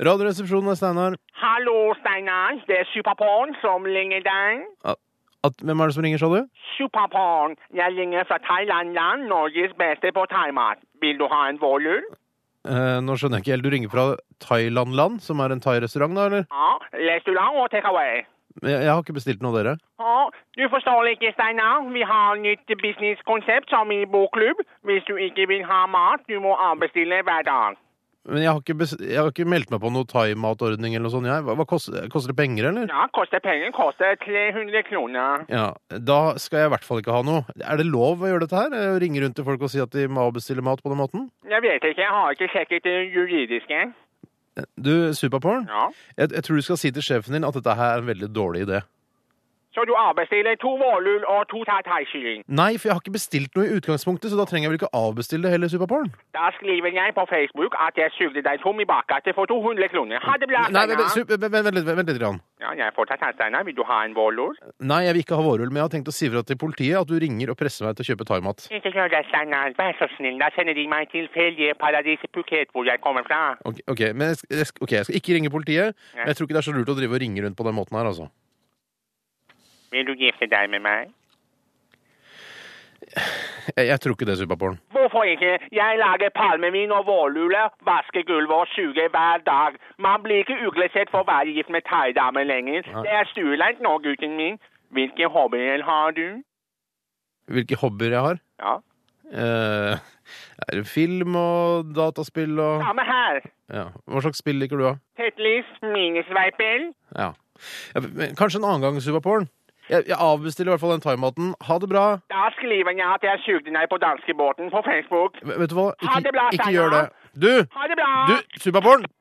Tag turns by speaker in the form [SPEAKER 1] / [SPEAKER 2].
[SPEAKER 1] Radioresepsjonen er Steinar.
[SPEAKER 2] Hallo, Steinar. Det er Superporn som ringer deg.
[SPEAKER 1] At, hvem er det som ringer, sa du?
[SPEAKER 2] Superporn. Jeg ringer fra Thailand-land, Norges beste på thaimat. Vil du ha en vårlur?
[SPEAKER 1] Eh, nå skjønner jeg ikke helt. Du ringer fra Thailand-land, som er en thai-restaurant, da, eller?
[SPEAKER 2] Ja, restaurant og takeaway.
[SPEAKER 1] Men Jeg, jeg har ikke bestilt noe av dere.
[SPEAKER 2] Ja, du forstår ikke, Steinar. Vi har nytt businesskonsept som i bokklubb. Hvis du ikke vil ha mat, du må avbestille hver dag.
[SPEAKER 1] Men jeg har ikke, bes jeg har ikke meldt meg på noe thaimatordning eller noe sånt, jeg. Hva, hva koster, koster det penger, eller?
[SPEAKER 2] Ja, koster penger. Koster 300 kroner.
[SPEAKER 1] Ja, Da skal jeg i hvert fall ikke ha noe. Er det lov å gjøre dette her? Eh, Ringe rundt til folk og si at de må avbestille mat på den måten?
[SPEAKER 2] Jeg vet ikke, jeg har ikke sjekket det juridiske.
[SPEAKER 1] Eh, Du, Superporn,
[SPEAKER 2] Ja.
[SPEAKER 1] jeg, jeg tror du skal si til sjefen din at dette her er en veldig dårlig idé.
[SPEAKER 2] Så du avbestiller to vårlull og to tartaikylling.
[SPEAKER 1] Nei, for jeg har ikke bestilt noe i utgangspunktet, så da trenger jeg vel ikke avbestille det heller, Superporn?
[SPEAKER 2] Da skriver jeg på Facebook at jeg sugde deg tom i bakgata for 200 kroner. Ha det bra,
[SPEAKER 1] Nei, vent,
[SPEAKER 2] Steinar.
[SPEAKER 1] vent, sup- vent, vent, litt- vent litt. Grann.
[SPEAKER 2] Ja, jeg får tartar, Steinar. Vil du ha en vårlull?
[SPEAKER 1] Nei, jeg vil ikke ha vårrull, men jeg har tenkt å si fra til politiet at du ringer og presser meg til å kjøpe thaimat.
[SPEAKER 2] Ikke gjør det, Steinar. Vær så snill. Da sender de meg til ferieparadiset Phuket, hvor jeg kommer fra.
[SPEAKER 1] Ok, ok, men jeg, sk- jeg, sk- ok, jeg skal ikke ringe politiet, men jeg tror ikke det er så lurt å drive og ringe rundt på den måten her, altså.
[SPEAKER 2] Vil du gifte deg med meg?
[SPEAKER 1] Jeg, jeg tror ikke det, Superporn.
[SPEAKER 2] Hvorfor ikke? Jeg lager palmevin og vårluller, vasker gulvet og suger hver dag. Man blir ikke uglesett for å være gift med thaidamer lenger. Det er stuelengt nå, gutten min. Hvilke hobbyer har du?
[SPEAKER 1] Hvilke hobbyer jeg har?
[SPEAKER 2] Ja,
[SPEAKER 1] Eh, er det film og dataspill og
[SPEAKER 2] samme her.
[SPEAKER 1] ja. Hva slags spill liker du, da?
[SPEAKER 2] Tetlis, minisveipel.
[SPEAKER 1] Ja. Ja, men Kanskje en annen gang, Superporn. Jeg, jeg avbestiller i hvert fall den thaimaten. Ha det bra.
[SPEAKER 2] Da skriver jeg at jeg sugde deg på danskebåten på Facebook.
[SPEAKER 1] V- Vet du hva?
[SPEAKER 2] Ha
[SPEAKER 1] Ikke,
[SPEAKER 2] det bra,
[SPEAKER 1] ikke
[SPEAKER 2] Steinar.
[SPEAKER 1] gjør det. Du!
[SPEAKER 2] Ha det bra!
[SPEAKER 1] Du, Superporn!